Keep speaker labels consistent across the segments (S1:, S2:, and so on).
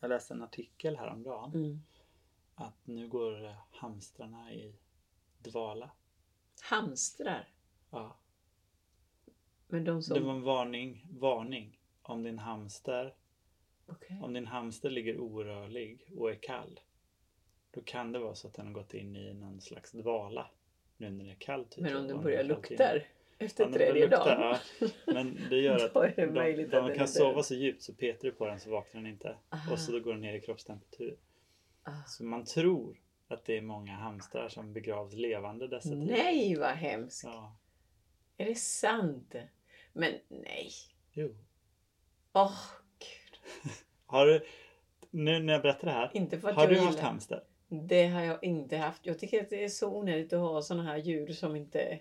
S1: Jag läste en artikel häromdagen
S2: Mm.
S1: att nu går hamstrarna i dvala.
S2: Hamstrar.
S1: Ja.
S2: Men de som...
S1: Det var en varning, varning. Om din hamster,
S2: Okej.
S1: om din hamster ligger orörlig och är kall. Då kan det vara så att den har gått in i någon slags dvala. Nu när det är kallt. typ,
S2: Men om
S1: och
S2: den
S1: det
S2: börjar
S1: är kallt inne.
S2: lukta
S1: Ja,
S2: efter
S1: den börjar
S2: tredje
S1: lukta,
S2: dagen.
S1: ja. Men det gör att
S2: Då är det
S1: de,
S2: möjligt att
S1: de
S2: den är
S1: kan
S2: död.
S1: sova så djupt så petar du på den så vaknar den inte.
S2: Aha.
S1: Och så då går den ner i kroppstemperatur.
S2: Ah.
S1: Så man tror att det är många hamstrar som begravs levande dessa tider.
S2: Nej vad hemskt!
S1: Ja.
S2: Är det sant? Men nej.
S1: Jo.
S2: Åh gud.
S1: Har du, nu när jag berättar det här,
S2: Inte för att
S1: har
S2: jag
S1: du
S2: gillar.
S1: haft hamster?
S2: Det har jag inte haft. Jag tycker att det är så onödigt att ha sådana här djur som inte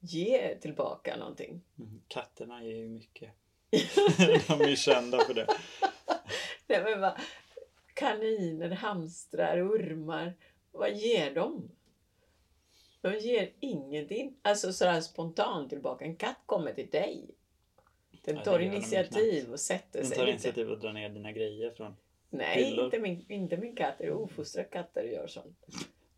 S2: ger tillbaka någonting.
S1: Mm. Katterna ger ju mycket. de är ju kända för det.
S2: Nej, men vad, kaniner, hamstrar, ormar. Vad ger de? De ger ingenting. Alltså sådär spontant tillbaka. En katt kommer till dig. Den
S1: Ja,
S2: tar
S1: det gör de
S2: initiativ och sätter
S1: De
S2: sig.
S1: tar
S2: lite.
S1: initiativ att dra ner dina grejer från...
S2: Nej,
S1: Hyllor.
S2: inte min, inte min katt. Det är ofostrade katter gör sånt.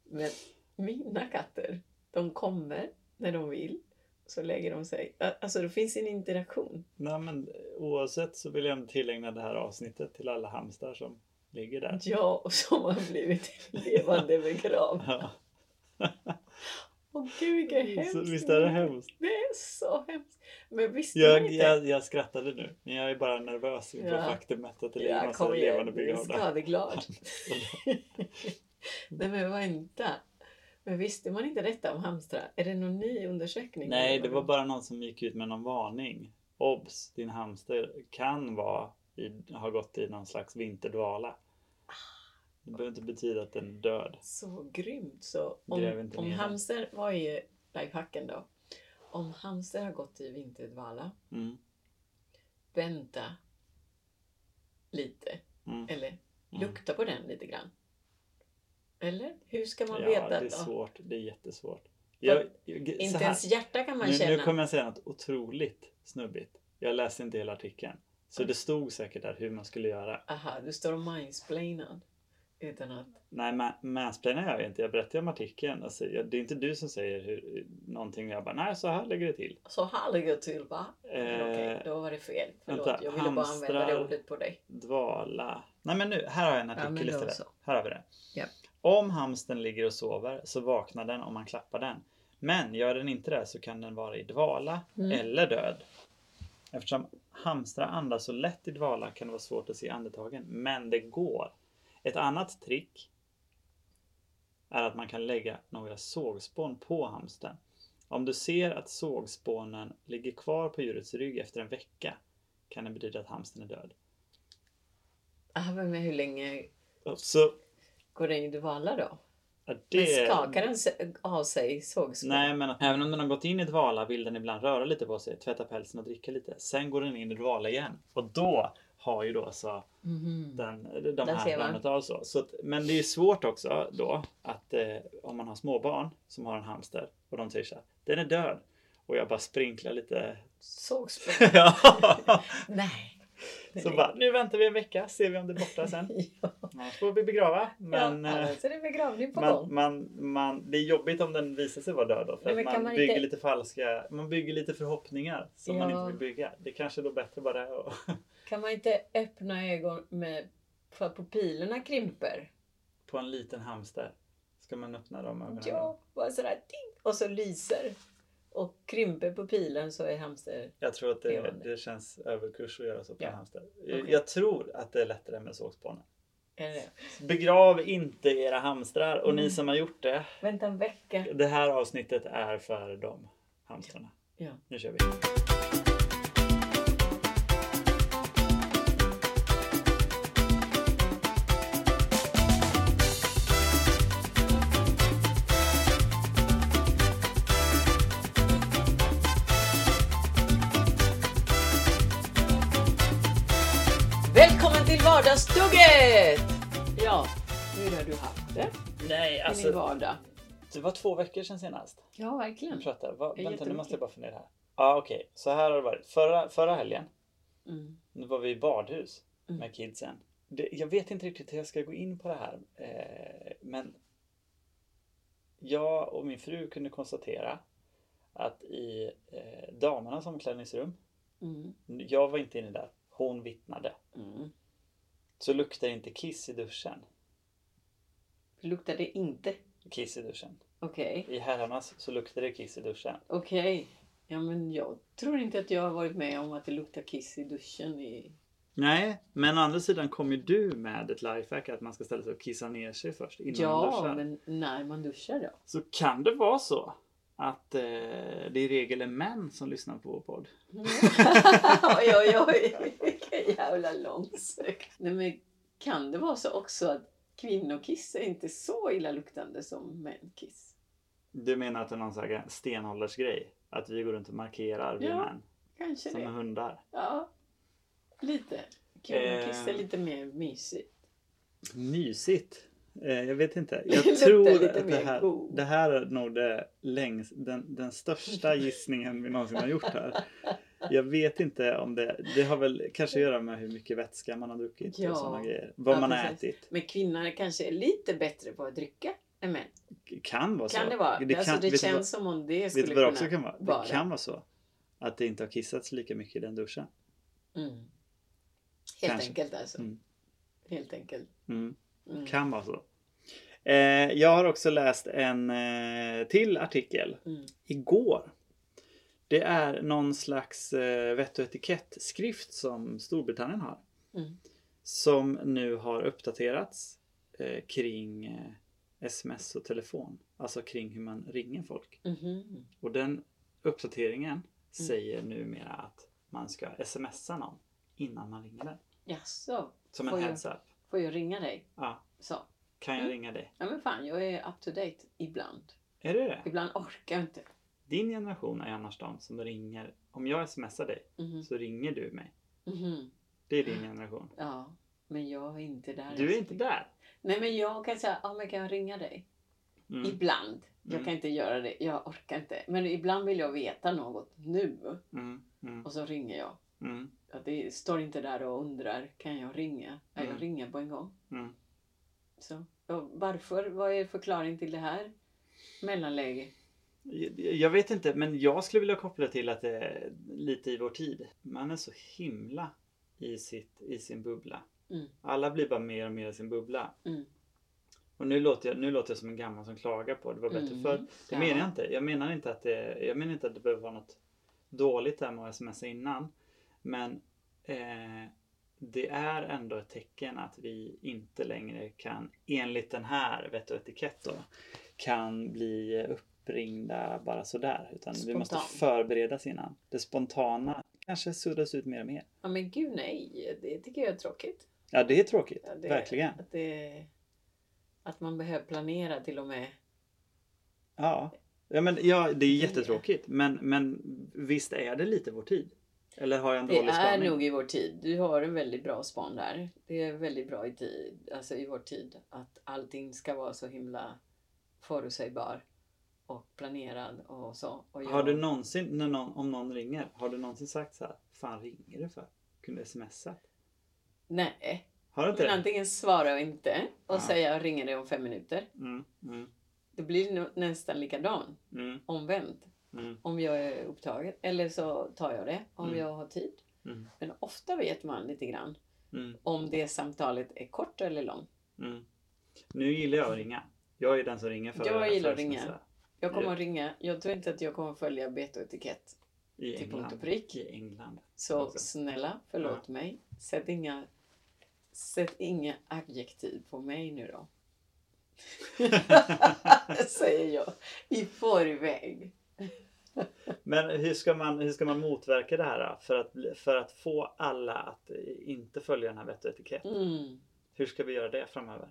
S2: Men mina katter, de kommer när de vill. Så lägger de sig. Alltså det finns en interaktion.
S1: Nej men oavsett så vill jag ändå tillägna det här avsnittet till alla hamstrar som ligger där.
S2: Ja, och som har blivit levande begravd.
S1: Ja.
S2: Åh gud vilket
S1: Så,
S2: hemskt.
S1: visst är det hemskt?
S2: Det är så hemskt. Men visste man
S1: Jag,
S2: inte?
S1: jag, jag skrattade nu, men jag är bara nervös inför
S2: Ja.
S1: faktumet att det ligger
S2: jag
S1: massa
S2: kom igen,
S1: levande
S2: du är
S1: begravda.
S2: skadeglad. Nej men vänta. Men visste man inte detta om hamstrar? Är det någon ny undersökning?
S1: Nej,
S2: Eller
S1: det
S2: vad
S1: var bara någon som gick ut med någon varning. Obs! Din hamster kan vara i, ha gått i någon slags vinterdvala. Det behöver inte betyda att den är död.
S2: Så grymt. Så
S1: Gräv
S2: om,
S1: inte
S2: om
S1: ner den.
S2: hamster, vad är lifehacken då? Om hamster har gått i vinterdvala,
S1: Mm,
S2: vänta lite.
S1: mm,
S2: Eller
S1: mm.
S2: lukta på den lite grann. Eller? Hur ska man
S1: Ja,
S2: veta?
S1: det är
S2: att- ja,
S1: svårt. Det är jättesvårt. Jag, jag, så
S2: Inte
S1: här,
S2: ens hjärta kan man
S1: nu,
S2: känna.
S1: nu kommer jag säga något otroligt snubbigt. Jag läste inte hela artikeln.
S2: Mm.
S1: Så det stod säkert där hur man skulle göra.
S2: Aha, du står och mansplainar. Utan att...
S1: Nej, ma- mansplainar gör jag inte. Jag berättar ju om artikeln. Alltså, jag, det är inte du som säger hur, någonting. Jag bara, nej så här lägger det till.
S2: Så här ligger det till va? Men
S1: Eh,
S2: Okej, då var det fel. Förlåt,
S1: vänta,
S2: jag ville bara använda det
S1: hamstrar.
S2: ordet på dig.
S1: Dvala. Nej men nu, här har jag en
S2: men
S1: artikel
S2: då
S1: istället.
S2: så.
S1: Här har vi det.
S2: Ja.
S1: Om hamsten ligger och sover så vaknar den om man klappar den. Men gör den inte det så kan den vara i dvala
S2: Mm.
S1: eller död. Eftersom hamstrar andas så lätt i dvala kan det vara svårt att se andetagen. Men det går. Ett annat trick är att man kan lägga några sågspån på hamsten. Om du ser att sågspånen ligger kvar på djurets rygg efter en vecka kan det betyda att hamsten är död.
S2: Ah, men hur länge
S1: Så
S2: går den i dvala då?
S1: Alltså, Ja,
S2: Men
S1: det...
S2: skakar den sig- av sig sågspån?
S1: Nej, men att- även om den har gått in i dvala vill den ibland röra lite på sig, tvätta pälsen och dricka lite. Sen går den in i dvala igen. Och då har ju då så
S2: Mhm.
S1: den, de
S2: Där
S1: här
S2: ser man.
S1: ramlat av så. så att, men det är ju svårt också då att eh, om man har småbarn som har en hamster och de säger så här, den är död. Och jag bara sprinklar lite.
S2: Sågspån?
S1: Ja.
S2: Nej.
S1: så bara, nu väntar vi en vecka, ser vi om det är borta sen.
S2: Ja,
S1: Annars får vi begrava. Men,
S2: ja,
S1: eh,
S2: alltså det är begravning på
S1: man,
S2: gång.
S1: man, man, det är jobbigt om den visar sig vara död då, för
S2: Nej, men
S1: att
S2: kan
S1: man,
S2: man
S1: bygger
S2: inte-
S1: lite falska, man bygger lite förhoppningar som man
S2: Ja.
S1: inte vill bygga. Det kanske är då bättre bara att...
S2: Kan man inte öppna ögon med, för att pupillerna krymper?
S1: på en liten hamster. Ska man öppna dem ögonen?
S2: Ja, bara sådär ting! Och så lyser. Och krymper pupillen så är hamster...
S1: Jag tror att det,
S2: Levande.
S1: det känns överkurs att göra så på
S2: Ja.
S1: en hamster. Jag-
S2: Okej.
S1: Jag tror att det är lättare med sågspånen.
S2: Är det?
S1: Begrav inte era hamstrar och
S2: Mm.
S1: ni som har gjort det.
S2: Vänta en vecka.
S1: Det här avsnittet är för de hamstrarna.
S2: Ja.
S1: Nu kör vi.
S2: Välkommen till vardagsstugget! Ja, hur har du haft det
S1: Nej,
S2: i din
S1: alltså.
S2: vardag?
S1: Det var två veckor sedan senast.
S2: Ja, verkligen.
S1: Prata. Va,
S2: Det är
S1: vänta, nu måste
S2: jättemycket.
S1: jag bara fundera här. Ja, okej. Så här har det varit. Förra, förra helgen
S2: Mm.
S1: nu var vi i badhus
S2: Mm.
S1: med kidsen. det, jag vet inte riktigt hur jag ska gå in på det här. Eh, men jag och min fru kunde konstatera att i eh, damernas omklädningsrum,
S2: Mm.
S1: jag var inte inne där, hon vittnade,
S2: Mm.
S1: så luktar inte kiss i duschen.
S2: Luktar det inte?
S1: Kiss i duschen.
S2: Okej.
S1: I herrarnas så luktar det kiss i duschen.
S2: Okej. Ja, men jag tror inte att jag har varit med om att det luktar kiss i duschen. I...
S1: Nej, men å andra sidan kom ju du med ett lifehack att man ska ställa sig och kissa ner sig först innan man
S2: Ja,
S1: duschar.
S2: men när man duschar då?
S1: Så kan det vara så att eh, det i regel är män som lyssnar på vår podd.
S2: Mm. oj, oj, oj. Vilken jävla långsökt. Nej, men kan det vara så också att kvinnokiss är inte så illaluktande som mänkiss?
S1: Du menar att det är någon sån här stenåldersgrej? Att vi går runt och markerar vi
S2: Ja,
S1: män
S2: Kanske
S1: som är
S2: det.
S1: hundar?
S2: Ja, lite. Kvinnokiss är
S1: Eh.
S2: lite mer mysigt.
S1: Mysigt! Eh, jag vet inte.
S2: Det
S1: Jag
S2: luktar
S1: tror
S2: lite
S1: att det
S2: mer
S1: här,
S2: god.
S1: det här är nog det längs, den, den största gissningen vi någonsin har gjort här. Jag vet inte om det... Det har väl kanske att göra med hur mycket vätska man har druckit
S2: Ja.
S1: och sådana grejer. Vad
S2: Ja,
S1: man har
S2: precis.
S1: ätit.
S2: Men kvinnor kanske är lite bättre på att dricka än män.
S1: Kan vara så.
S2: Kan det vara? Det, alltså,
S1: vet
S2: det
S1: du vad-
S2: känns som om det
S1: Vet
S2: skulle
S1: du vad det
S2: kunna
S1: också kan vara?
S2: vara.
S1: Det kan vara så att det inte har kissats lika mycket i den duschen.
S2: Mm. Helt
S1: Kanske.
S2: enkelt alltså.
S1: Mm.
S2: Helt enkelt.
S1: Mm.
S2: Mm.
S1: Kan vara så. Eh, jag har också läst en eh, till artikel
S2: Mm.
S1: igår. Det är någon slags eh, vett och etikettskrift som Storbritannien har.
S2: Mm.
S1: Som nu har uppdaterats eh, kring eh, sms och telefon. Alltså kring hur man ringer folk.
S2: Mhm.
S1: Och den uppdateringen
S2: Mm.
S1: säger numera att man ska smsa någon innan man ringer den.
S2: Jaså,
S1: Som en
S2: Oj.
S1: heads up.
S2: får jag ringa dig?
S1: Ja,
S2: Så.
S1: kan jag
S2: Mm.
S1: ringa dig?
S2: Ja men fan, jag är up to date ibland.
S1: Är det det?
S2: Ibland orkar jag inte.
S1: Din generation är annars de som ringer. Om jag smsar dig
S2: Mhm.
S1: så ringer du mig.
S2: Mhm.
S1: Det är din generation.
S2: Ja, men jag är inte där.
S1: Du är
S2: alltså.
S1: inte där.
S2: Nej men jag kan säga, ja men kan jag ringa dig?
S1: Mm.
S2: Ibland. Jag
S1: Mm.
S2: kan inte göra det, jag orkar inte. Men ibland vill jag veta något nu.
S1: Mm. Mm.
S2: Och så ringer jag.
S1: Mm.
S2: Att det står inte där och undrar, kan jag ringa? Ja,
S1: Mm.
S2: jag ringer på en gång.
S1: Mm.
S2: Så. Och varför? Vad är förklaringen till det här mellanläge?
S1: Jag- Jag vet inte, men jag skulle vilja koppla till att det är lite i vår tid. Man är så himla i, sitt, i sin bubbla.
S2: Mm.
S1: Alla blir bara mer och mer i sin bubbla.
S2: Mm.
S1: Och nu låter, jag, nu låter jag som en gammal som klagar på det var bättre
S2: Mm.
S1: förr. Det
S2: Ja.
S1: menar jag inte. Jag menar inte att det, jag menar inte att det behöver vara något dåligt där med att smsa innan. Men eh, det är ändå ett tecken att vi inte längre kan, enligt den här vett och etikett då, kan bli uppringda bara sådär. Utan vi måste
S2: Spontant.
S1: förberedas innan. Det spontana kanske suddas ut mer och mer.
S2: Ja men gud nej, det tycker jag är tråkigt.
S1: Ja, det är tråkigt.
S2: Ja, det-
S1: Verkligen.
S2: Att, det, att man behöver planera till och med.
S1: Ja, ja, men, ja det är jättetråkigt. Men, men visst är det lite vår tid? Eller har jag en
S2: Det
S1: dålig
S2: är
S1: spaning?
S2: nog i vår tid. Du har en väldigt bra span där. Det är väldigt bra i, tid, alltså i vår tid att allting ska vara så himla förutsägbar och planerad och så. Och
S1: Har
S2: jag-
S1: du någonsin, när någon, om någon ringer, har du någonsin sagt så här? Fan ringer du för? Kunde du smsa?
S2: Nej.
S1: Har du inte
S2: Men
S1: det?
S2: antingen svarar jag inte och
S1: Ja.
S2: säger jag ringer dig om fem minuter.
S1: Mm, mm,
S2: Det blir nog nästan likadan,
S1: mm,
S2: omvänt.
S1: mm,
S2: Om jag är upptagen. Eller så tar jag det om
S1: Mm.
S2: jag har tid.
S1: mm,
S2: Men ofta vet man lite grann
S1: mm,
S2: om det samtalet är kort eller långt.
S1: mm. Nu gillar jag att ringa. Jag är den som ringer för
S2: Jag gillar
S1: för
S2: att ringa.
S1: smsa.
S2: Jag kommer
S1: Ja.
S2: att ringa. Jag tror inte att jag kommer att följa bett och etikett.
S1: I
S2: Till punkt
S1: England.
S2: och prick.
S1: I England.
S2: Typ
S1: Alltså.
S2: Så
S1: Okej.
S2: snälla, förlåt mig. Sätt inga, sätt inga adjektiv på mig nu då. Säger jag i förväg.
S1: Men hur ska, man, hur ska man motverka det här då? För att, bli- för att få alla att eh, inte följa den här vett och etikett?
S2: Mm.
S1: Hur ska vi göra det framöver?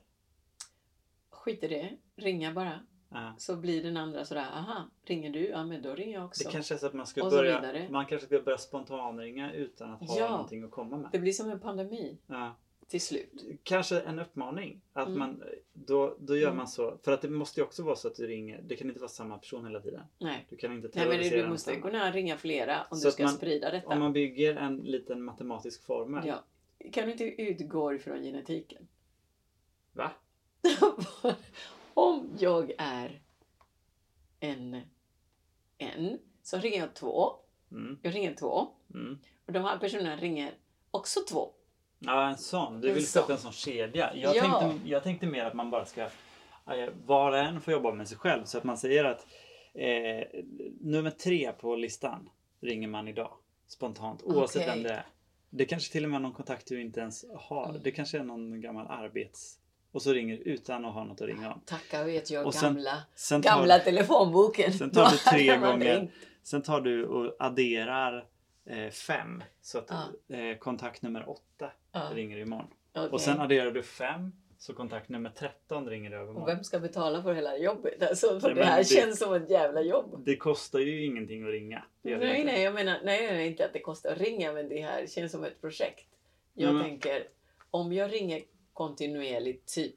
S2: Skit i det. Ringa bara.
S1: Ja.
S2: Så blir den andra sådär, aha, ringer du? Ja, men då ringer jag också.
S1: Det
S2: Det,
S1: kanske är så att man ska
S2: Och så
S1: börja,
S2: vidare.
S1: man kanske ska börja spontanringa utan att ha
S2: Ja.
S1: någonting att komma med.
S2: blir som en pandemi
S1: Ja.
S2: till slut.
S1: Kanske en uppmaning. Att
S2: Mm.
S1: man, då, då gör
S2: Mm.
S1: man så. För att det måste ju också vara så att du ringer. Det kan inte vara samma person hela tiden.
S2: Nej,
S1: Du kan inte
S2: Nej men det-
S1: terrorisera
S2: du måste
S1: densamma.
S2: kunna ringa flera om
S1: Så
S2: du
S1: att
S2: ska
S1: man-
S2: sprida detta.
S1: Om man bygger en liten matematisk formel.
S2: ja. kan du inte utgå ifrån genetiken?
S1: Va?
S2: Om jag är en, en, så ringer jag två.
S1: Mm,
S2: Jag ringer två.
S1: mm.
S2: Och de här personerna ringer också två.
S1: Ja, en sån. Du
S2: En
S1: vill
S2: sån.
S1: sätta en sån kedja. Jag,
S2: Ja.
S1: tänkte, jag tänkte mer att man bara ska... eh, Var och en får jobba med sig själv. Så att man säger att eh, nummer tre på listan ringer man idag. Spontant. Oavsett
S2: Okej.
S1: vem
S2: Mm.
S1: det är. Det kanske till och med är någon kontakt du inte ens har. Det kanske är någon gammal arbets... Och så ringer utan att ha något att ringa om.
S2: Tacka vet jag
S1: Och sen-
S2: gamla,
S1: Sen tar,
S2: gamla telefonboken.
S1: sen tar du tre
S2: Man ring-
S1: gånger. Sen tar du och adderar eh, fem. Så att eh, kontakt nummer åtta
S2: Ja,
S1: ringer imorgon.
S2: okej.
S1: Och sen adderar du 5 så kontakt nummer 13 ringer över
S2: Och
S1: imorgon.
S2: vem ska betala för hela jobbet? Alltså, för
S1: Nej,
S2: det
S1: men
S2: här
S1: det-
S2: känns som ett jävla jobb.
S1: Det kostar ju ingenting att ringa. Det gör det
S2: Nej,
S1: inte.
S2: nej, jag menar nej, nej, inte att det kostar att ringa, men det här känns som ett projekt. Jag
S1: Mm.
S2: tänker, om jag ringer kontinuerligt, typ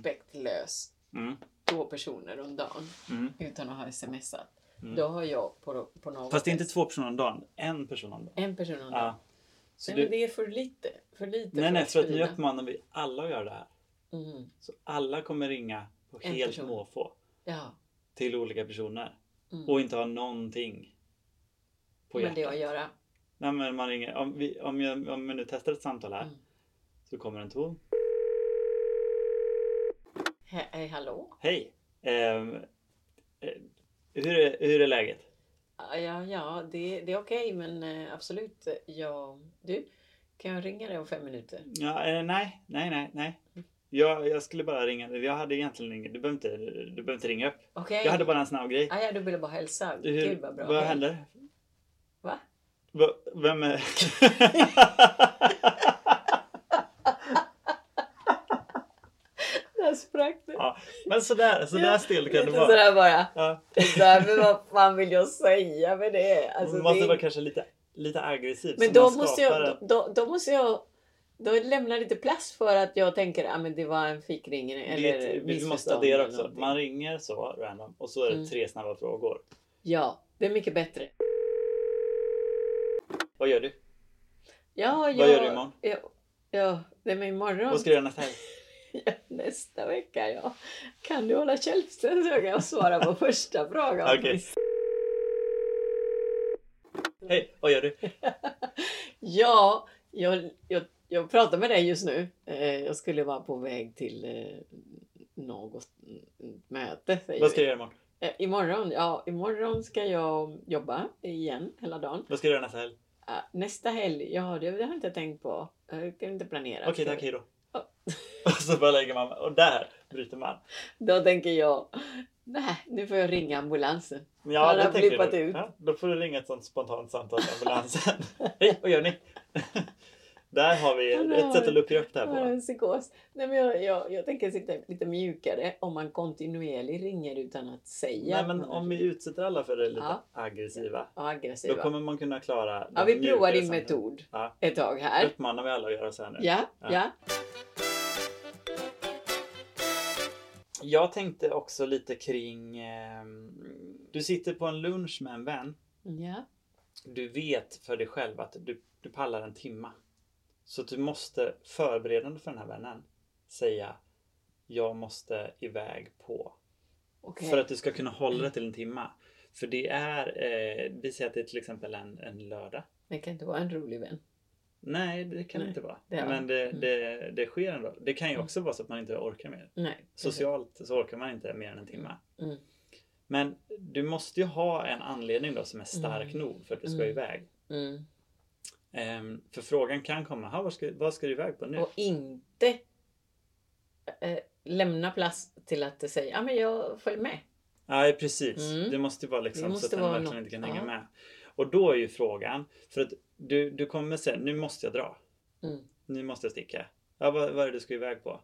S2: respektlös,
S1: Mm,
S2: två personer om dagen
S1: mm.
S2: utan att ha smsat,
S1: Mm.
S2: då har jag på, på något
S1: Fast det är inte
S2: sätt
S1: två personer om dagen, en person om dagen.
S2: en person om dagen.
S1: Ja. Så
S2: nej,
S1: du,
S2: men det är för lite. För lite
S1: nej, nej, för att nu
S2: sprida.
S1: uppmanar vi alla att göra det här.
S2: Mm.
S1: Så alla kommer ringa på
S2: En
S1: helt
S2: person.
S1: måfå
S2: Ja,
S1: till olika personer
S2: Mm.
S1: och inte ha någonting på
S2: men
S1: hjärtat.
S2: det har att göra.
S1: Nej, men man ringer. Om, vi, om, jag, om jag nu testar ett samtal här
S2: Mm.
S1: så kommer en ton.
S2: He- Hej, hallå?
S1: Hej! Ehm, eh, hur, är, hur är läget?
S2: Ja, Ja, ja, det, det är okej, men eh, absolut. Jag, du, kan jag ringa dig om fem minuter?
S1: Ja, eh, nej, nej, nej, nej. Jag, jag skulle bara ringa. Jag hade egentligen ingen... Du behöver inte, du behöver inte ringa upp.
S2: Okej.
S1: Jag hade bara en snabb grej.
S2: Ah, ja, du ville bara hälsa.
S1: Hur,
S2: Gud vad bra.
S1: Eh, vad
S2: Hej.
S1: händer?
S2: Va?
S1: Va, vem är...
S2: Där sprack det.
S1: ja, men sådär, sådär
S2: Ja,
S1: still kan
S2: Lite
S1: det vara.
S2: sådär bara.
S1: Ja,
S2: Sådär, men vad fan vill jag säga med det? Alltså,
S1: man måste
S2: det...
S1: vara kanske lite, lite aggressiv.
S2: Men
S1: så
S2: då
S1: man
S2: måste,
S1: skapar
S2: jag,
S1: en-
S2: då, då måste jag... Då lämnar lite plats för att jag tänker att ah, men det var en fikringning
S1: det
S2: eller
S1: är ett- vi måste
S2: missförstånd
S1: addera
S2: eller
S1: också.
S2: någonting.
S1: Man ringer så random och så är det
S2: Mm.
S1: tre snabba frågor.
S2: Ja, det är mycket bättre.
S1: Vad gör du?
S2: Ja, jag,
S1: Vad gör du imorgon?
S2: Ja, ja, det är med imorgon.
S1: Vad ska du göra nästa helg?
S2: Ja, Nästa vecka, ja. Kan du hålla käften så kan jag svara på första frågan.
S1: Okej. Hej, vad gör du?
S2: Ja, jag, jag, jag pratar med dig just nu. Eh, jag skulle vara på väg till eh, något mm, möte. Säger
S1: Vad ska du
S2: vi.
S1: göra imorgon?
S2: Eh, imorgon, ja, imorgon ska jag jobba igen hela dagen.
S1: Vad ska du göra nästa helg?
S2: Ah, nästa helg, ja det, det har jag inte tänkt på. Eh, Det har jag inte planerat.
S1: Okej, tack, hejdå.
S2: Ja.
S1: Och så bara lägger man och där bryter man.
S2: Då tänker jag, nej, nu får jag ringa ambulansen.
S1: Men
S2: Ja,
S1: det
S2: det har
S1: tänker
S2: blippat
S1: du.
S2: ut.
S1: Ja, då får du ringa ett sånt spontant samtal med ambulansen. Hej, vad gör ni? där har vi
S2: Ja, där
S1: ett
S2: har
S1: sätt
S2: vi-
S1: att luckra upp det här
S2: Jag har
S1: på.
S2: en psykos. Nej, men jag, jag, jag tänker sitta lite mjukare om man kontinuerligt ringer utan att säga.
S1: Nej, men om vi utsätter alla för det lite
S2: Ja.
S1: aggressiva,
S2: ja,
S1: då
S2: aggressiva.
S1: kommer man kunna klara
S2: Ja,
S1: de
S2: vi provar
S1: mjukare
S2: din
S1: samtalen.
S2: metod
S1: Ja.
S2: ett tag
S1: Då
S2: här.
S1: uppmanar vi alla att göra så här nu.
S2: Ja,
S1: Ja.
S2: ja.
S1: Jag tänkte också lite kring... Eh, du sitter på en lunch med en vän.
S2: ja.
S1: du vet för dig själv att du, du pallar en timma. Så att du måste förberedande för den här vännen säga jag måste iväg på.
S2: Okej.
S1: För att du ska kunna hålla det till en timma. För det är, eh, vi säger att det är till exempel en, en lördag.
S2: Det kan inte vara en rolig vän.
S1: Nej, det kan det
S2: Nej,
S1: inte vara.
S2: det är- Mm.
S1: Men det, det, det sker ändå. Det kan ju också vara så att man inte orkar mer.
S2: Nej.
S1: Socialt så orkar man inte mer än en timme.
S2: Mm.
S1: Men du måste ju ha en anledning då som är stark
S2: Mm.
S1: nog för att du ska
S2: Mm.
S1: iväg.
S2: Mm.
S1: Ehm, för frågan kan komma, "Ha, vad ska, vad ska du iväg på nu?
S2: Och inte eh, lämna plats till att säga ja, men jag följer med.
S1: Nej precis,
S2: Mm.
S1: det måste ju vara
S2: Det
S1: liksom
S2: måste
S1: så att den
S2: vara
S1: verkligen
S2: något,
S1: inte kan
S2: ja.
S1: hänga med. Och då är ju frågan, för att du, du kommer säga, nu måste jag dra.
S2: Mm.
S1: Nu måste jag sticka. Ja, vad, vad är det du ska iväg på?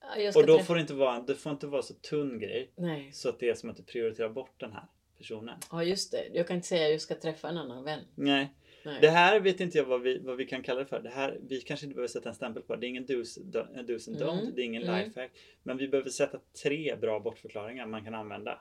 S2: Ja, Jag ska
S1: Och då
S2: träffa-
S1: får det, inte vara, det får inte vara så tunn grej
S2: Nej.
S1: så att det är som att du prioriterar bort den här personen.
S2: Ja, just det. Jag kan inte säga att jag ska träffa en annan vän.
S1: Nej,
S2: Nej.
S1: det här vet inte jag vad vi, vad vi kan kalla det för. Det här, vi kanske inte behöver sätta en stämpel på det. Det är ingen do's, do- eh, do's and
S2: Mm.
S1: don't, det är ingen
S2: Mm.
S1: lifehack. Men vi behöver sätta tre bra bortförklaringar man kan använda.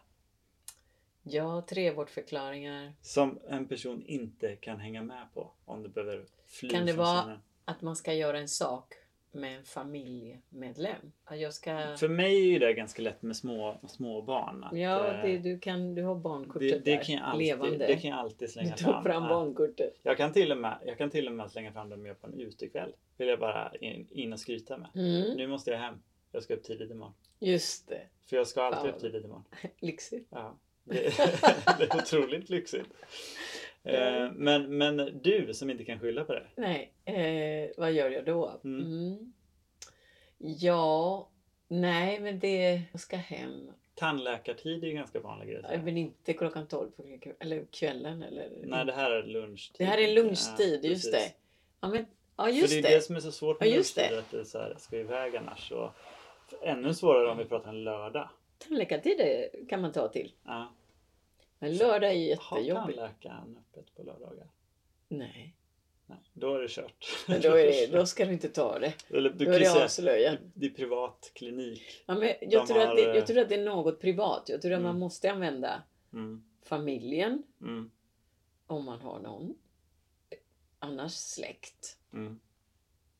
S2: Ja, tre bortförklaringar.
S1: Som en person inte kan hänga med på om du behöver fly
S2: Kan det
S1: från
S2: vara-
S1: synen.
S2: att man ska göra en sak med en familjemedlem. Att Jag ska...
S1: För mig är ju det ganska lätt med små, små barn. Att,
S2: Ja,
S1: eh,
S2: det, du, kan, du har
S1: det,
S2: barnkortet
S1: det,
S2: där,
S1: kan jag alltid,
S2: levande.
S1: det kan jag alltid
S2: du
S1: slänga
S2: tog
S1: fram.
S2: fram
S1: Ja.
S2: barnkortet.
S1: Jag kan till och med, jag kan till och med slänga fram dem jag på en utekväll. Vill jag bara in, in och skryta med.
S2: Mm,
S1: Nu måste jag hem. Jag ska upp tidigt imorgon.
S2: just det,
S1: För jag ska alltid
S2: Fan.
S1: upp tidigt imorgon.
S2: lyxigt.
S1: Ja. Det, det är otroligt lyxigt. Eh, Men, men du som inte kan skylla på det.
S2: Nej, eh, vad gör jag då?
S1: Mm.
S2: Mm. Ja, nej men det... Jag ska hem.
S1: Tandläkartid är ju ganska vanlig grej.
S2: Ja, Men inte klockan 12 på kvällen, eller kvällen. Eller...
S1: Nej, det här är lunchtid.
S2: det här är lunchtid,
S1: Ja, precis.
S2: just det. Ja, men, ja
S1: För
S2: just
S1: det är
S2: det.
S1: det som är så svårt med
S2: Ja, just
S1: lunchtid.
S2: det.
S1: Att det är så här, ska vi iväg annars? Och ännu svårare om vi pratar en lördag.
S2: Tandläkartid eh, kan man ta till.
S1: Ja.
S2: Men lördag är
S1: Har
S2: jättejobbigt.
S1: tandläkaren öppet på lördagar?
S2: Nej,
S1: Nej, då är det kört.
S2: men då, är det, då ska du inte ta det.
S1: Eller du
S2: Då
S1: kan
S2: är
S1: ju
S2: det
S1: säga,
S2: avslöjat.
S1: det är privat klinik.
S2: Ja, men
S1: De
S2: jag, tror att det,
S1: har, eh,
S2: jag tror att det är något privat. Jag tror att man
S1: Mm.
S2: måste använda
S1: Mm.
S2: familjen
S1: Mm.
S2: om man har någon. Annars släkt.
S1: Mm.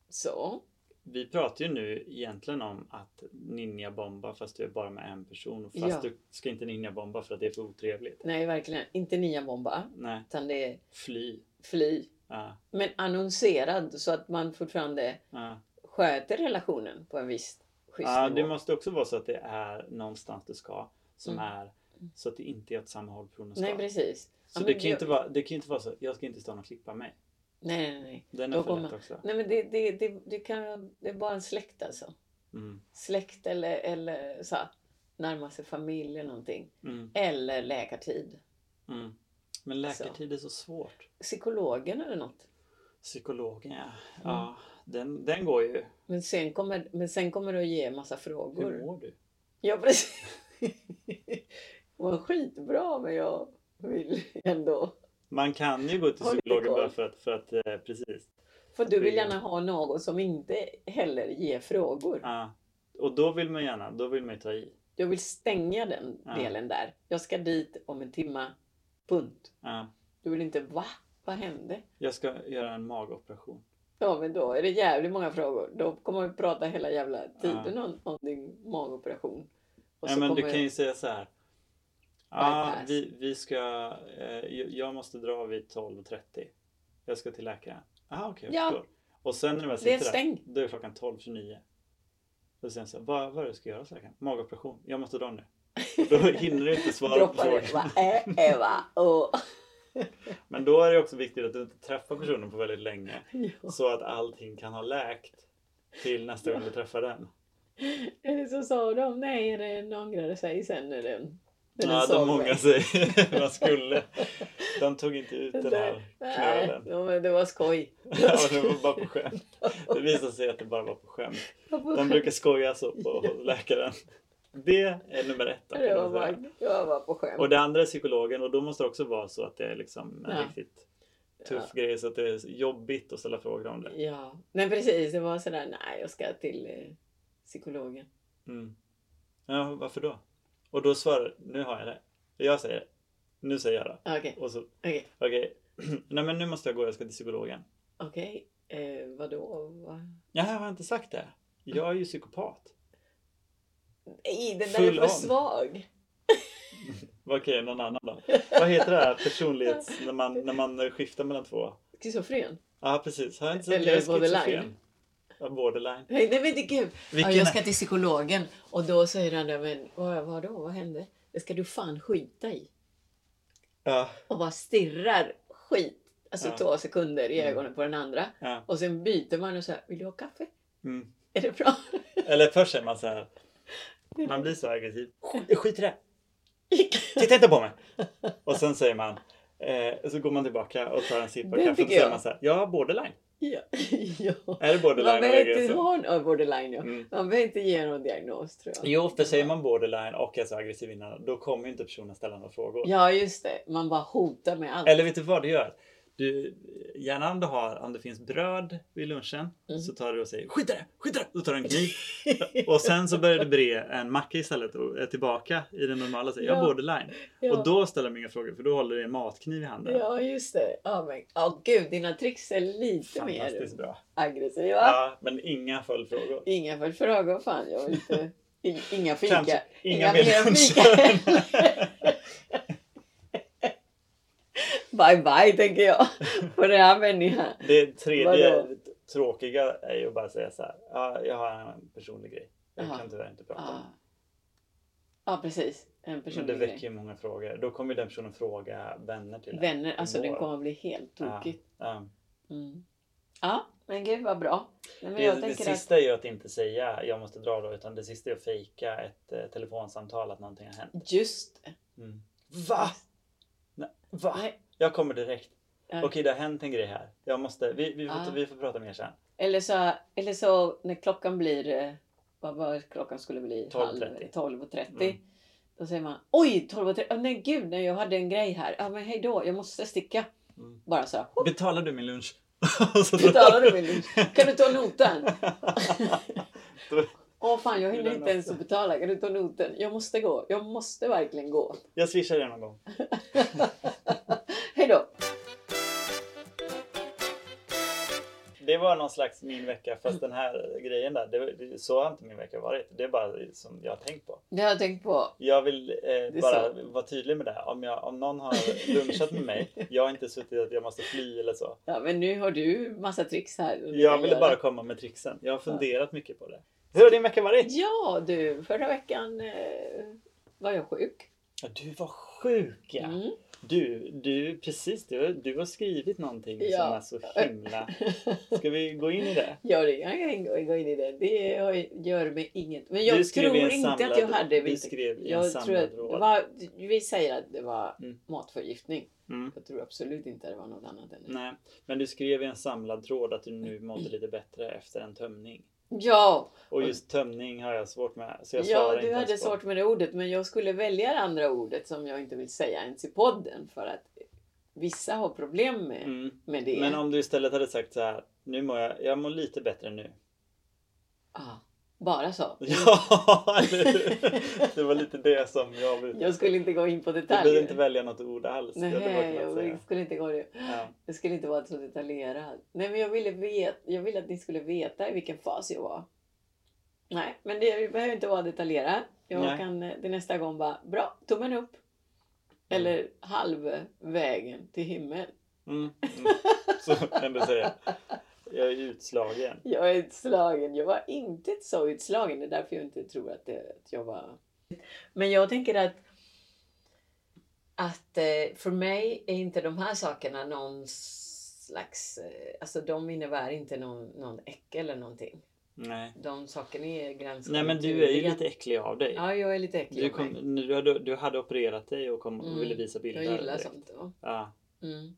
S2: Så.
S1: Vi pratar ju nu egentligen om att ninjabomba fast du är bara med en person. Fast
S2: Ja.
S1: du ska inte ninjabomba för att det är för otrevligt.
S2: Nej, verkligen. Inte nya bomba.
S1: Nej,
S2: Utan det är
S1: fly.
S2: fly.
S1: Ja,
S2: Men annonserad så att man fortfarande
S1: ja.
S2: sköter relationen på en viss schysst
S1: ja,
S2: nivå.
S1: det måste också vara så att det är någonstans du ska. Som
S2: Mm.
S1: är så att det inte är åt samma håll personen ska.
S2: Nej, precis.
S1: Så
S2: Ja,
S1: det,
S2: men
S1: kan ju
S2: jag-
S1: inte vara, det kan ju inte vara så, jag ska inte stanna och klippa mig.
S2: Nej, nej, nej.
S1: Den
S2: Då
S1: är för
S2: går
S1: lätt
S2: man-
S1: också.
S2: Nej, men det, det, det, det, kan, det är bara en släkt alltså.
S1: Mm.
S2: Släkt eller, eller så här, närma sig familj eller någonting.
S1: Mm.
S2: Eller läkartid.
S1: Mm. Men läkartid är så svårt.
S2: Psykologen eller något.
S1: Psykologen ja,
S2: Mm.
S1: ja den, den går ju.
S2: Men sen kommer, men sen kommer du att ge massa frågor.
S1: Hur mår du?
S2: Ja, precis. Vad skitbra, men jag vill ändå...
S1: Man kan ju gå till
S2: Har lite
S1: psykologen
S2: koll.
S1: bara för att, för att eh, precis.
S2: För du vill gärna ha någon som inte heller ger frågor.
S1: Ja. Och då vill man gärna, då vill man ju ta i.
S2: Jag vill stänga den
S1: Ja.
S2: delen där. Jag ska dit om en timma. Punkt.
S1: Ja.
S2: Du vill inte va? Vad hände?
S1: Jag ska göra en magoperation.
S2: Ja, men då är det jävligt många frågor. Då kommer vi prata hela jävla tiden
S1: Ja.
S2: om, om din magoperation. Och
S1: Ja,
S2: så
S1: men du
S2: kommer-
S1: kan ju säga så här. Ja,
S2: Bypass.
S1: vi, vi ska, eh, jag- jag måste dra vid 12.30. Jag ska till läkaren. Aha, okej, jag
S2: Ja.
S1: förstår. Och sen när jag väl
S2: Det är
S1: sitter där,
S2: stäng.
S1: då är klockan 12.29. Då säger jag så här, vad, vad är det du ska göra? Så här, Magoperation. Jag måste dra nu. Och då hinner du inte svara på
S2: Droppa
S1: frågan.
S2: det. Va? Äh, äh, va? Och...
S1: Men då är det också viktigt att du inte träffar personen på väldigt länge.
S2: Ja.
S1: Så att allting kan ha läkt till nästa gång du träffar den.
S2: Eller så sa de, nej, är det någon ångrade sig sen när den, när
S1: Ja,
S2: såg
S1: de ångrar
S2: mig.
S1: sig. Man skulle. De tog inte ut den här
S2: Nej,
S1: knölen.
S2: ja, men det var skoj.
S1: Ja, det var bara på skämt. Det visade sig att det bara var på skämt. De brukar skoja så på läkaren. Det är nummer ett. Då, kan
S2: Det var
S1: man
S2: bara,
S1: säga.
S2: jag var på skämt.
S1: Och det andra är psykologen och då måste det också vara så att det är liksom en
S2: Ja.
S1: riktigt tuff grej så att det är jobbigt att ställa frågor om det.
S2: Ja, nej precis. Det var sådär, nej jag ska till eh, psykologen.
S1: Mm. Ja, varför då? Och då svarar nu har jag det. Jag säger det. Nu säger jag det.
S2: Ah, Okej,
S1: Och så,
S2: okej,
S1: okej. Nej men nu måste jag gå, jag ska till psykologen.
S2: okej. Eh, vadå? Va?
S1: Ja, jag har inte sagt det. Jag är ju psykopat.
S2: Nej, den där är
S1: Full
S2: för
S1: on.
S2: svag.
S1: Vad Okej, någon annan då. Vad heter det här personlighets... När man, när man skiftar mellan två?
S2: Schizofren.
S1: Ja, precis. Har jag inte sagt
S2: Eller
S1: jag är
S2: borderline.
S1: schizofren? Ja, borderline.
S2: Nej, nej men det är kul. Ja,
S1: Vilken
S2: jag
S1: är-
S2: ska till psykologen. Och då säger han, där, men vad, vadå? Vad hände? Det ska du fan skita i.
S1: Ja,
S2: och bara stirrar skit, alltså
S1: Ja.
S2: två sekunder i
S1: Mm.
S2: ögonen på den andra.
S1: ja.
S2: Och sen byter man och säger vill du ha kaffe?
S1: Mm.
S2: Är det bra?
S1: Eller först är man så här. Man blir så aggressiv. Skit, skit i det! Titta inte på mig! Och sen säger man... Eh, så går man tillbaka och tar en sipp av
S2: Den
S1: kaffe och
S2: tycker
S1: säger
S2: jag.
S1: man så här. Ja, borderline.
S2: ja. ja.
S1: Är det borderline
S2: Man
S1: eller
S2: behöver inte
S1: aggressiv?
S2: ha en ja, borderline. Ja.
S1: Mm.
S2: Man behöver inte ge någon diagnos tror jag.
S1: Jo, för säger man borderline och är så aggressiv innan, då kommer ju inte personen ställa några frågor.
S2: Ja, just det. Man bara hotar med allt.
S1: Eller vet du vad det gör? Du, gärna om du har, om det finns bröd vid lunchen
S2: Mm.
S1: så tar du och säger skit i det, skit i det! Då tar du en kniv och sen så börjar du bre en macka istället och är tillbaka i den normala. Så, Jag
S2: Ja.
S1: är borderline.
S2: ja.
S1: Och då ställer de inga frågor för då håller du en matkniv i handen.
S2: Ja, just det. Ja, men ja, gud, dina tricks är lite mer
S1: Fantastiskt bra.
S2: aggressiva.
S1: Ja, men inga följdfrågor.
S2: Inga för frågor, fan. Jag vill inte... In- Inga fika.
S1: Kanske
S2: Inga
S1: inga
S2: mer
S1: mer
S2: fika.
S1: luncher.
S2: Bye, bye, tänker jag. På den här människan.
S1: Det tredje
S2: Vadå?
S1: tråkiga är ju att bara säga så här. Ja, jag har en personlig grej. Jag
S2: Aha.
S1: kan tyvärr inte prata om
S2: Ja. Ah. ja, precis. En
S1: det. Men
S2: personlig
S1: det
S2: grej.
S1: väcker ju många frågor. Då kommer ju den personen fråga vänner till en.
S2: Vänner, alltså det
S1: Vår.
S2: kommer att bli helt
S1: Ah.
S2: tokigt.
S1: Ja.
S2: Mm. Ja, men gud vad bra. Nej, men
S1: Det,
S2: jag
S1: det
S2: tänker att,
S1: sista är ju att inte säga jag måste dra då. Utan det sista är att fejka ett eh, telefonsamtal att någonting har hänt.
S2: just det.
S1: Mm. Va? Nej, va?
S2: Nej.
S1: Jag kommer direkt.
S2: Ja.
S1: Okej, det har hänt en grej här. Jag måste, vi, vi, får,
S2: Ah.
S1: vi får prata mer sen.
S2: Eller, så, eller så när klockan blir, eh, vad var klockan skulle bli?
S1: 12.30.
S2: 12.30.
S1: Mm.
S2: Då säger man oj 12.30, oh, nej gud nej, jag hade en grej här. Ja men hej då, jag måste sticka.
S1: Mm.
S2: Bara så. här, hopp,
S1: Betalar du min lunch? Och så drar-
S2: Betalar du min lunch? Kan du ta notan?
S1: Då-
S2: Åh fan jag hinner
S1: Vill
S2: inte
S1: den
S2: ens
S1: också?
S2: att betala, kan du ta notan? Jag måste gå, jag måste verkligen gå.
S1: jag swishar dig någon gång.
S2: Hej då!
S1: Det var någon slags min vecka fast den här grejen där, det, var- det, så har inte min vecka varit. Det är bara som jag har tänkt på.
S2: Det har jag tänkt på.
S1: Jag vill eh,
S2: är
S1: bara vara tydlig med det. här. Om, jag, om någon har lunchat med mig, jag har inte suttit att jag måste fly eller så.
S2: Ja, men nu har du massa tricks här. som du
S1: Jag
S2: kan
S1: ville
S2: göra.
S1: bara komma med tricksen. Jag har funderat mycket på det. Hur har din vecka varit?
S2: Ja, du. Förra veckan eh, var jag sjuk.
S1: Ja, du var sjuk ja.
S2: Mm.
S1: Du, du, precis. Du, du har skrivit någonting som
S2: Ja.
S1: är så himla... Ska vi gå in i det?
S2: Ja, det kan jag inte gå in i det. Det har- gör mig inget. Men
S1: du
S2: jag
S1: skrev i
S2: tror
S1: en
S2: inte att jag
S1: samlad-
S2: hade
S1: Du
S2: vinter.
S1: skrev i en
S2: Jag tror
S1: samlad
S2: att det
S1: tråd.
S2: var, vi säger att det var
S1: Mm.
S2: matförgiftning.
S1: Mm.
S2: Jag tror absolut inte det var något annat än det.
S1: Nej, men du skrev i en samlad tråd att du nu mådde lite bättre efter en tömning.
S2: Ja,
S1: Och just tömning har jag svårt med. Så jag svarar
S2: ja
S1: inte
S2: du hade
S1: ens på.
S2: svårt med det ordet. Men jag skulle välja det andra ordet som jag inte vill säga ens i podden. För att vissa har problem med,
S1: Mm.
S2: med det.
S1: Men om du istället hade sagt så här. Nu mår jag, jag mår lite bättre nu.
S2: ah, bara så.
S1: Ja, eller hur? Det var lite det som jag ville.
S2: Jag skulle inte gå in på
S1: Du behöver
S2: detaljer.
S1: inte välja något ord alls. det hade
S2: Nej,
S1: varit lätt
S2: jag
S1: att säga.
S2: skulle inte gå det.
S1: Ja.
S2: Jag skulle inte vara så detaljerad. Nej, men jag ville, vet, jag ville att ni skulle veta i vilken fas jag var. Nej, men det jag behöver inte vara detaljerad. Jag
S1: Nej.
S2: kan eh, till nästa gång bara, bra, tummen upp. Eller halvvägen till himmel.
S1: Mm. Mm. Så kan du säga. Jag är utslagen.
S2: Jag är utslagen. Jag var inte så utslagen. Det är därför jag inte tror att, det, att jag var... Men jag tänker att, att eh, för mig är inte de här sakerna någon slags... eh, Alltså de innebär inte någon, någon äckel eller någonting.
S1: Nej.
S2: De sakerna är ganska
S1: Nej men du är ju
S2: naturliga.
S1: lite äcklig av dig.
S2: Ja, jag är lite äcklig.
S1: Du,
S2: av mig.
S1: kom, du, hade, du hade opererat dig och, kom,
S2: Mm.
S1: och ville visa bilder.
S2: jag gillar
S1: direkt.
S2: sånt. va.
S1: Ja,
S2: Mm.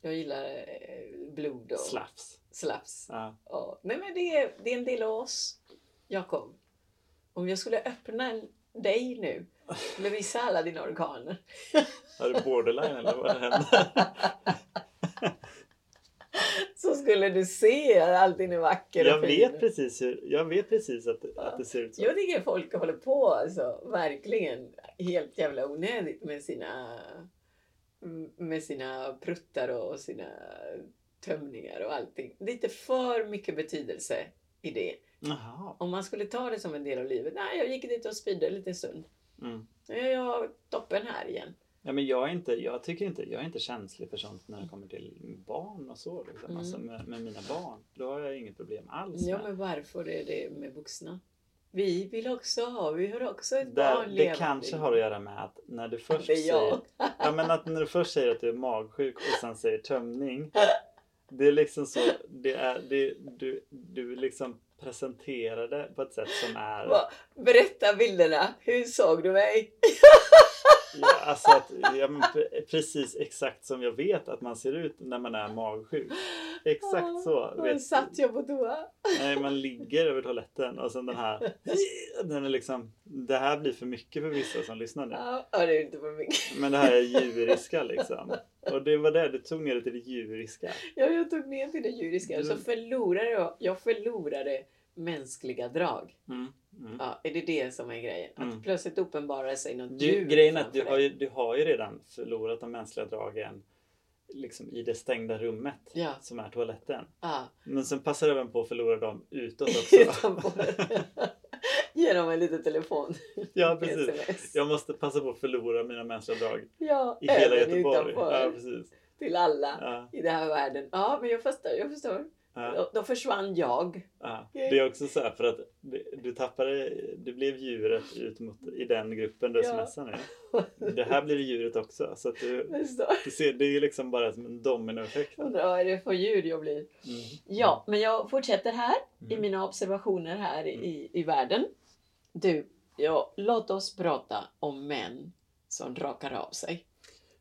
S2: Jag gillar eh, blod och
S1: slafs.
S2: slaps.
S1: Ja.
S2: Ja. Nej men det är, det är en del av oss, Jakob. Om jag skulle öppna dig nu, skulle visa alla dina organer.
S1: Är du borderline eller vad hände?
S2: Så skulle du se att allting är vacker
S1: Jag
S2: och fin.
S1: vet precis, hur, jag vet precis att, att det ser ut så.
S2: Jag tycker folk håller på alltså, verkligen helt jävla onödigt med sina, med sina pruttar och sina tömningar och allting. Det är inte för mycket betydelse i det.
S1: Jaha.
S2: Om man skulle ta det som en del av livet. Nej, jag gick dit och spydde en liten stund.
S1: Mm.
S2: Nu är jag toppen här igen.
S1: Ja, men jag, är inte, jag tycker inte, jag är inte känslig för sånt när det kommer till barn och så. Liksom.
S2: Mm.
S1: Alltså med, med mina barn. Då har jag inget problem alls
S2: Ja,
S1: med.
S2: men varför är det med vuxna? Vi vill också ha, vi har också ett
S1: Där,
S2: barn
S1: det
S2: levande.
S1: kanske har att göra med att när du först
S2: Det är jag.
S1: säger Ja men att när du först säger att du är magsjuk och sen säger tömning. Det är liksom så, det är, det, du, du liksom presenterar det på ett sätt som är, ja,
S2: Va? Berätta bilderna, hur såg du mig?
S1: alltså att, ja, men pre- precis exakt som jag vet att man ser ut när man är magsjuk. Exakt så. du
S2: Och då
S1: Vet,
S2: satt jag på toa.
S1: nej, man ligger över toaletten och sen den här. Den är liksom, det här blir för mycket för vissa som lyssnar nu.
S2: Ja, ja, det är inte för mycket.
S1: Men det här är djuriska liksom. Och det var det, du tog ner det till det djuriska.
S2: Ja, jag tog ner till det djuriska. Så
S1: Mm.
S2: förlorade jag, jag förlorade mänskliga drag.
S1: Mm. Mm.
S2: Ja, är det det som är grejen? Att
S1: Mm.
S2: plötsligt uppenbarar sig något
S1: Du,
S2: djur
S1: grejen är att
S2: framför
S1: du
S2: dig.
S1: har, ju, du har ju redan förlorat de mänskliga dragen liksom i det stängda rummet
S2: Ja,
S1: som är toaletten.
S2: ja.
S1: Men sen passar du även på att förlora dem utåt också.
S2: Utanpå. Ge dem en liten telefon.
S1: ja, precis.
S2: SMS.
S1: Jag måste passa på att förlora mina mänskliga drag
S2: Ja,
S1: i hela
S2: även
S1: Göteborg. Ja,
S2: utanför.
S1: precis.
S2: Till alla
S1: Ja,
S2: i den här världen. Ja, men jag förstår. Jag förstår.
S1: ja,
S2: Då, då försvann jag.
S1: ja. Det är också så här för att du, du tappade, du blev djuret ut mot, i den gruppen du
S2: Ja.
S1: smsar nu. Det här blir djuret också. Så att du,
S2: Förstår.
S1: du ser, det är ju liksom bara som en dominoeffekt. Mm.
S2: Undrar vad är det för djur jag blir. Ja, men jag fortsätter här i
S1: Mm.
S2: mina observationer här
S1: Mm.
S2: i, i världen. Du, ja, låt oss prata om män som rakar av sig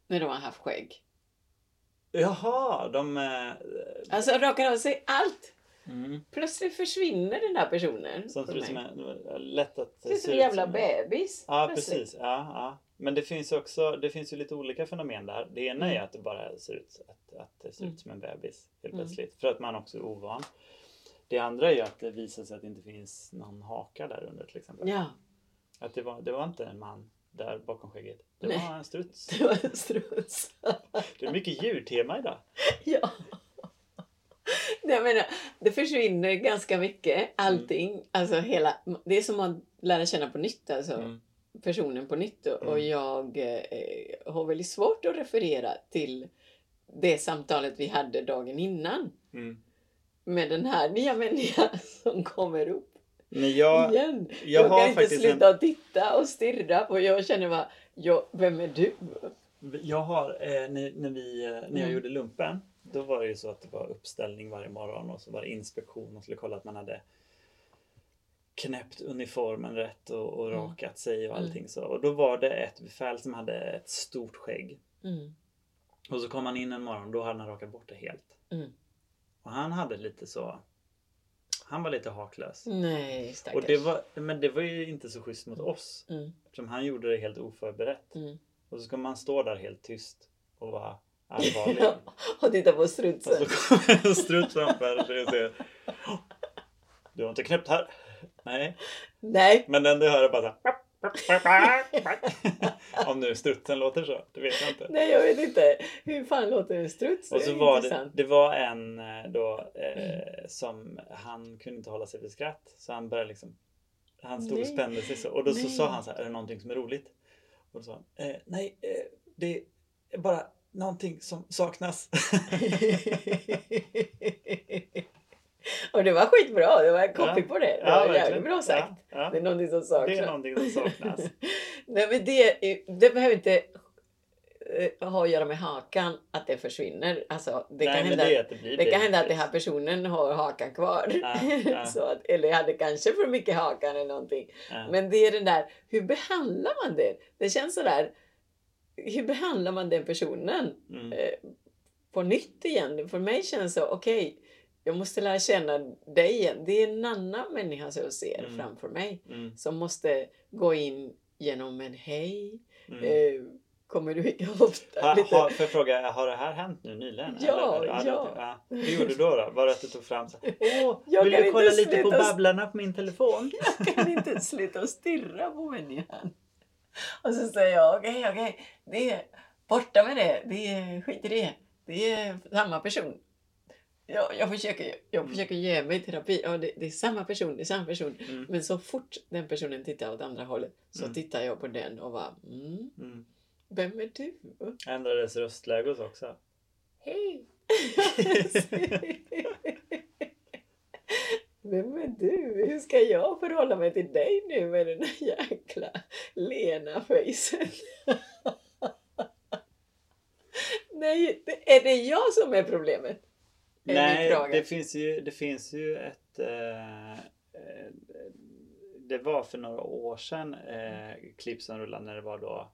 S2: när de har haft skägg.
S1: Jaha, de... eh,
S2: Alltså rakar av sig allt!
S1: Mm.
S2: Plötsligt försvinner den här personen.
S1: Sånt
S2: för
S1: ser ut som
S2: mig.
S1: en- lätt att...
S2: Det är som
S1: ser
S2: en
S1: ut
S2: jävla
S1: som en-
S2: bebis.
S1: Ja,
S2: plötsligt.
S1: precis. Ja, ja. Men det finns ju också det finns ju lite olika fenomen där. Det ena är
S2: Mm.
S1: att det bara ser ut, att, att det ser ut
S2: Mm.
S1: som en bebis helt
S2: Mm.
S1: plötsligt. För att man också är ovan. Det andra är ju att det visar sig att det inte finns någon haka där under till exempel.
S2: Ja,
S1: Att det var, det var inte en man där bakom skägget. Det
S2: Nej.
S1: var en struts.
S2: det var en struts.
S1: Det är mycket djurtema idag.
S2: Ja. Nej, Jag menar, det försvinner ganska mycket, allting. Alltså hela, det är som att lära känna på nytt, alltså
S1: Mm.
S2: personen på nytt. Och och
S1: Mm.
S2: jag eh, har väldigt svårt att referera till det samtalet vi hade dagen innan
S1: Mm.
S2: med den här nya människan som kommer upp
S1: Men jag, jag,
S2: igen. Jag,
S1: har
S2: kan inte
S1: faktiskt en,
S2: sluta att titta och stirra på, jag känner bara, jag, vem är du?
S1: Jag har, eh, när, när, vi, eh, när jag
S2: Mm.
S1: gjorde lumpen, då var det ju så att det var uppställning varje morgon och så var det inspektion och skulle kolla att man hade knäppt uniformen rätt och, och
S2: Mm.
S1: rakat sig och
S2: Mm.
S1: allting så. Och då var det ett befäl som hade ett stort skägg.
S2: Mm.
S1: Och så kom han in en morgon, då hade han rakat bort det helt.
S2: Mm.
S1: Och han hade lite så, han var lite haklös.
S2: Nej,
S1: Och
S2: Mm, stackars.
S1: det var, men det var ju inte så schysst mot oss.
S2: Mm.
S1: Eftersom han gjorde det helt oförberett.
S2: Mm.
S1: Och så ska man stå där helt tyst och vara allvarlig.
S2: Ja, och titta på
S1: Och
S2: strutsen.
S1: så kommer en strut framför sig och säger Du har inte knäppt här. Nej,
S2: Nej,
S1: men den du hör är bara så här. Om nu strutsen låter så, det vet jag inte.
S2: Nej, jag vet inte. Hur fan låter en struts?
S1: Och så
S2: är
S1: var det,
S2: intressant.
S1: det var en eh, då eh, som han kunde inte hålla sig för skratt så han började liksom Han stod och
S2: Nej.
S1: spände sig så och då så
S2: Nej.
S1: sa han så här, är det någonting som är roligt? Och då sa han, eh, nej eh, det är bara någonting som saknas.
S2: Och det var skitbra. Det var en copy
S1: Ja.
S2: på det. Det var
S1: verkligen.
S2: jävligt bra sagt.
S1: Ja, ja.
S2: Det är någonting som saknas.
S1: Det är någonting som saknas.
S2: Nej, men det, är- det behöver inte eh, ha att göra med hakan, att det försvinner. Alltså, det,
S1: Nej,
S2: kan
S1: men
S2: hända,
S1: det, är
S2: det,
S1: att det, blir
S2: kan hända att den
S1: bättre.
S2: här personen har hakan kvar.
S1: Ja, ja.
S2: Så att, eller hade kanske för mycket hakan eller någonting.
S1: Ja.
S2: Men det är den där, hur behandlar man det? Det känns sådär, hur behandlar man den personen
S1: Mm.
S2: eh, på nytt igen? För mig känns det, okej, jag måste lära känna dig igen. Det är en annan människa som jag ser
S1: Mm.
S2: framför mig
S1: Mm.
S2: som måste gå in genom en hej.
S1: Mm.
S2: Eh, kommer du ihåg ofta?
S1: Ha,
S2: lite?
S1: ha, får jag fråga, har det här hänt nu nyligen?
S2: Ja,
S1: Eller- det-
S2: ja.
S1: Hur gjorde du då? då? Var det att du tog fram så här, Åh,
S2: Jag
S1: vill
S2: kan
S1: du
S2: inte
S1: kolla lite på
S2: sluta s-
S1: Babblarna på min telefon?
S2: Jag kan inte sluta att stirra på människan. Och så säger jag okej, okej, det är borta med det, det är, skit i det, det är samma person. Jag, jag, försöker, jag
S1: Mm.
S2: försöker ge mig terapi, ja, det, det är samma person, det är samma person.
S1: Mm.
S2: Men så fort den personen tittar åt andra hållet så
S1: Mm.
S2: tittar jag på den och bara mm,
S1: Mm.
S2: vem är du?
S1: Ändrades röstläget också?
S2: Hej! Vem är du? Hur ska jag förhålla mig till dig nu med den här jäkla Lena-fejsen? Nej, det- är det jag som är problemet? Är min
S1: Nej,
S2: fråga.
S1: det finns ju, det finns ju ett... Eh, eh, det var för några år sedan eh, klipp som rullade när det var då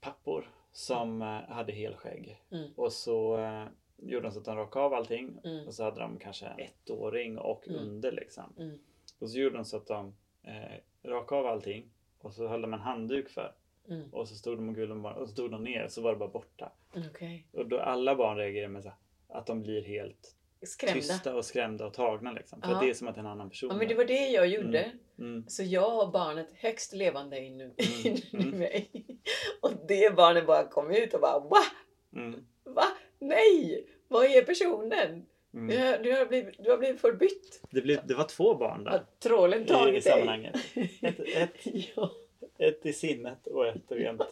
S1: pappor som eh, hade helskägg.
S2: Mm.
S1: Och så eh, gjorde de så att de rakade av allting
S2: Mm.
S1: och så hade de kanske en ettåring och
S2: Mm.
S1: under liksom.
S2: Mm.
S1: Och så gjorde de så att de eh, rakade av allting och så höll de en handduk för
S2: Mm.
S1: och så stod de och gullade med barnen och så stod de ner och så var det bara borta.
S2: Okej.
S1: Och då alla barn reagerar med så här, att de blir helt
S2: Skrämda.
S1: tysta och skrämda och tagna liksom. För
S2: Ja.
S1: att det är som att det är en annan person.
S2: Ja, men det var det jag gjorde.
S1: mm.
S2: Så jag har barnet högst levande in nu,
S1: Mm.
S2: in i
S1: Mm.
S2: mig. Och det barnet bara kom ut och bara va?
S1: Mm.
S2: Va? Nej! Vad är personen? Du,
S1: Mm.
S2: har, du, har blivit, du har blivit förbytt.
S1: Det, blev, det var två barn
S2: Har
S1: där
S2: trålen
S1: i, i
S2: tagit dig?
S1: sammanhanget. Ett, ett,
S2: ja,
S1: ett i sinnet och ett rent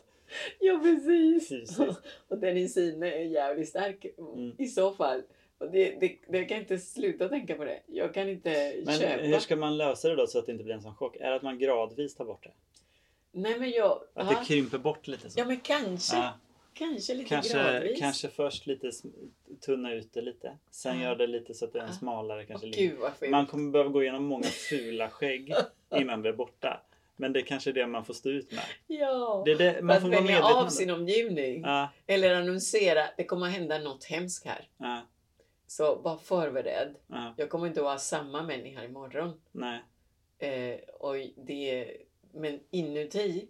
S2: ja, precis.
S1: fysiskt.
S2: Och den i sinne är jävligt stark
S1: Mm.
S2: i så fall. Och det, det, det, jag kan inte sluta tänka på det. Jag kan inte
S1: Men
S2: köpa.
S1: hur ska man lösa det då så att det inte blir en sån chock? Är det att man gradvis tar bort det?
S2: Nej men jag...
S1: Att
S2: ja.
S1: det krymper bort lite så?
S2: ja men kanske.
S1: Ja,
S2: Kanske lite
S1: kanske,
S2: gradvis.
S1: kanske först lite sm- tunna ut det lite. Sen
S2: Ja.
S1: gör det lite så att det är en
S2: Ja.
S1: smalare
S2: Åh,
S1: kanske linje.
S2: gud vad fint.
S1: Man kommer behöva gå igenom många fula skägg innan det är borta. Men det är kanske är det man får stå ut med.
S2: Ja.
S1: Det är det,
S2: För
S1: man
S2: att
S1: får vara
S2: välja
S1: medveten
S2: av
S1: om det.
S2: sin omgivning.
S1: Ja,
S2: Eller annonsera, det kommer att hända något hemskt här.
S1: ja,
S2: Så var förberedd.
S1: ja,
S2: Jag kommer inte vara samma människa imorgon.
S1: nej.
S2: Eh, och det, men inuti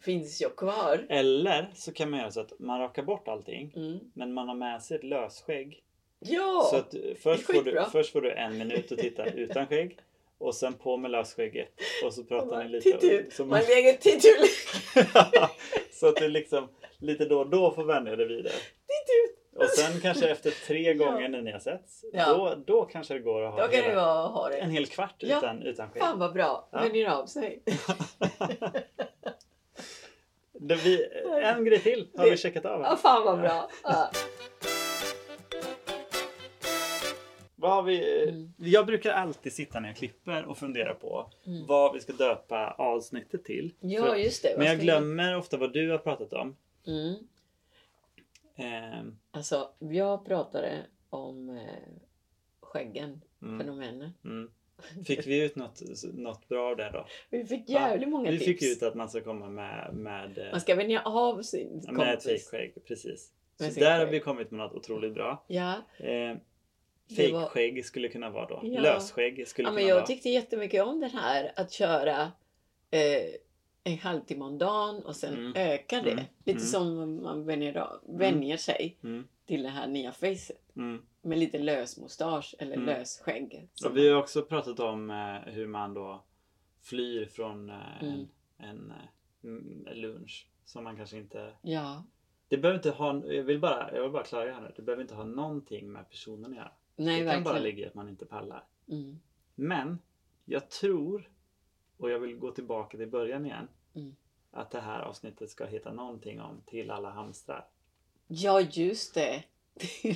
S2: finns jag kvar.
S1: Eller så kan man göra så att man rakar bort allting.
S2: Mm.
S1: Men man har med sig ett lösskägg.
S2: Ja!
S1: Så att först, får du,
S2: skitbra.
S1: först får du en minut att titta utan skägg. Och sen på med lösskägget. Och så
S2: Och
S1: pratar
S2: bara,
S1: ni lite.
S2: titul.
S1: och- Så,
S2: Man
S1: man,
S2: lägger titul.
S1: så att du liksom lite då och då får vänja dig vid det. Och sen kanske efter tre
S2: Ja.
S1: gånger när ni har setts.
S2: Ja.
S1: Då, då kanske det går att ha
S2: Då kan
S1: hela-
S2: det vara ha
S1: en
S2: det.
S1: hel kvart
S2: Ja.
S1: utan, utan skägg.
S2: Fan vad bra.
S1: Ja.
S2: Vänjer av sig.
S1: Det vi, en grej till har
S2: Det-
S1: vi checkat av. här.
S2: Ja, fan vad bra. Ja.
S1: Vad har vi,
S2: Mm.
S1: Jag brukar alltid sitta när jag klipper och fundera på
S2: Mm.
S1: vad vi ska döpa avsnittet till. För-
S2: Ja, just det. Vad
S1: men jag
S2: ska
S1: glömmer ofta vad du har pratat om.
S2: Mm.
S1: Ehm,
S2: Alltså, jag pratade om eh, skäggen,
S1: mm,
S2: fenomenen.
S1: mm. Fick vi ut något, något bra av det då?
S2: Vi fick
S1: Ja,
S2: jävligt många
S1: Vi
S2: tips.
S1: fick ut att man ska komma med, med, eh,
S2: Man ska vänja av sin
S1: med ett
S2: kompis.
S1: fejkskägg. Precis.
S2: Med
S1: Så
S2: sitt
S1: där har
S2: skägg.
S1: vi kommit med något otroligt bra.
S2: Ja,
S1: Eh,
S2: det var...
S1: Fejkskägg skulle kunna vara då.
S2: Ja.
S1: Lösskägg skulle
S2: ja, men
S1: kunna
S2: jag
S1: vara.
S2: tyckte jättemycket om den här att köra eh, en halvtimme om dagen och sen
S1: Mm.
S2: öka det.
S1: Mm.
S2: Lite
S1: Mm.
S2: som man vänjer, av, vänjer sig
S1: Mm.
S2: till det här nya facet.
S1: Mm.
S2: Med lite lös mustasch eller
S1: Mm.
S2: lös skägg. som
S1: Och vi har också pratat om eh, hur man då flyr från eh,
S2: Mm.
S1: en, en eh, mm, lunch. Som man kanske inte...
S2: man- Ja.
S1: Det behöver inte ha... Jag vill bara, jag vill bara klargöra nu. Det behöver inte ha någonting med personen att göra.
S2: Nej,
S1: det kan bara
S2: verkligen.
S1: ligga i att man inte pallar.
S2: Mm.
S1: Men jag tror, och jag vill gå tillbaka till början igen.
S2: Mm.
S1: Att det här avsnittet ska heta någonting om till alla hamstrar.
S2: Ja, just det.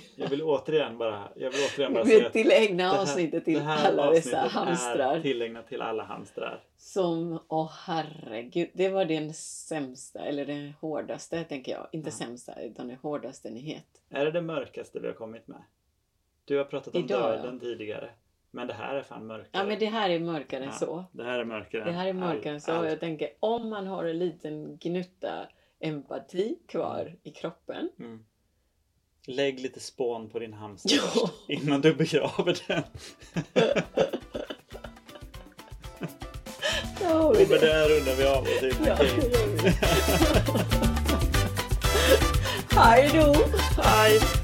S1: Jag vill återigen bara, jag vill återigen bara säga
S2: Vi
S1: att
S2: tillägna
S1: det här-
S2: avsnittet
S1: det
S2: till
S1: här
S2: alla dessa
S1: avsnittet är
S2: hamstrar.
S1: tillägnat till alla hamstrar.
S2: Som, åh herregud, det var den sämsta, eller den hårdaste tänker jag. Inte
S1: Ja.
S2: sämsta, utan den hårdaste nyhet.
S1: Är det det mörkaste vi har kommit med? Du har pratat om
S2: Idag,
S1: döden tidigare. Men det här är fan mörkare.
S2: Ja men det här är mörkare än
S1: Ja.
S2: så.
S1: Det här är mörkare.
S2: Det här är mörkare än
S1: allt,
S2: så.
S1: allt.
S2: Jag tänker, om man har en liten gnutta empati kvar i kroppen.
S1: Mm. Lägg lite spån på din hamster
S2: Ja.
S1: först, innan du begraver den.
S2: Då har vi
S1: Och med
S2: det.
S1: det här rundar vi av. Och typ, det
S2: Ja,
S1: är
S2: då
S1: okej.
S2: gör vi det. Hej då!
S1: Hej!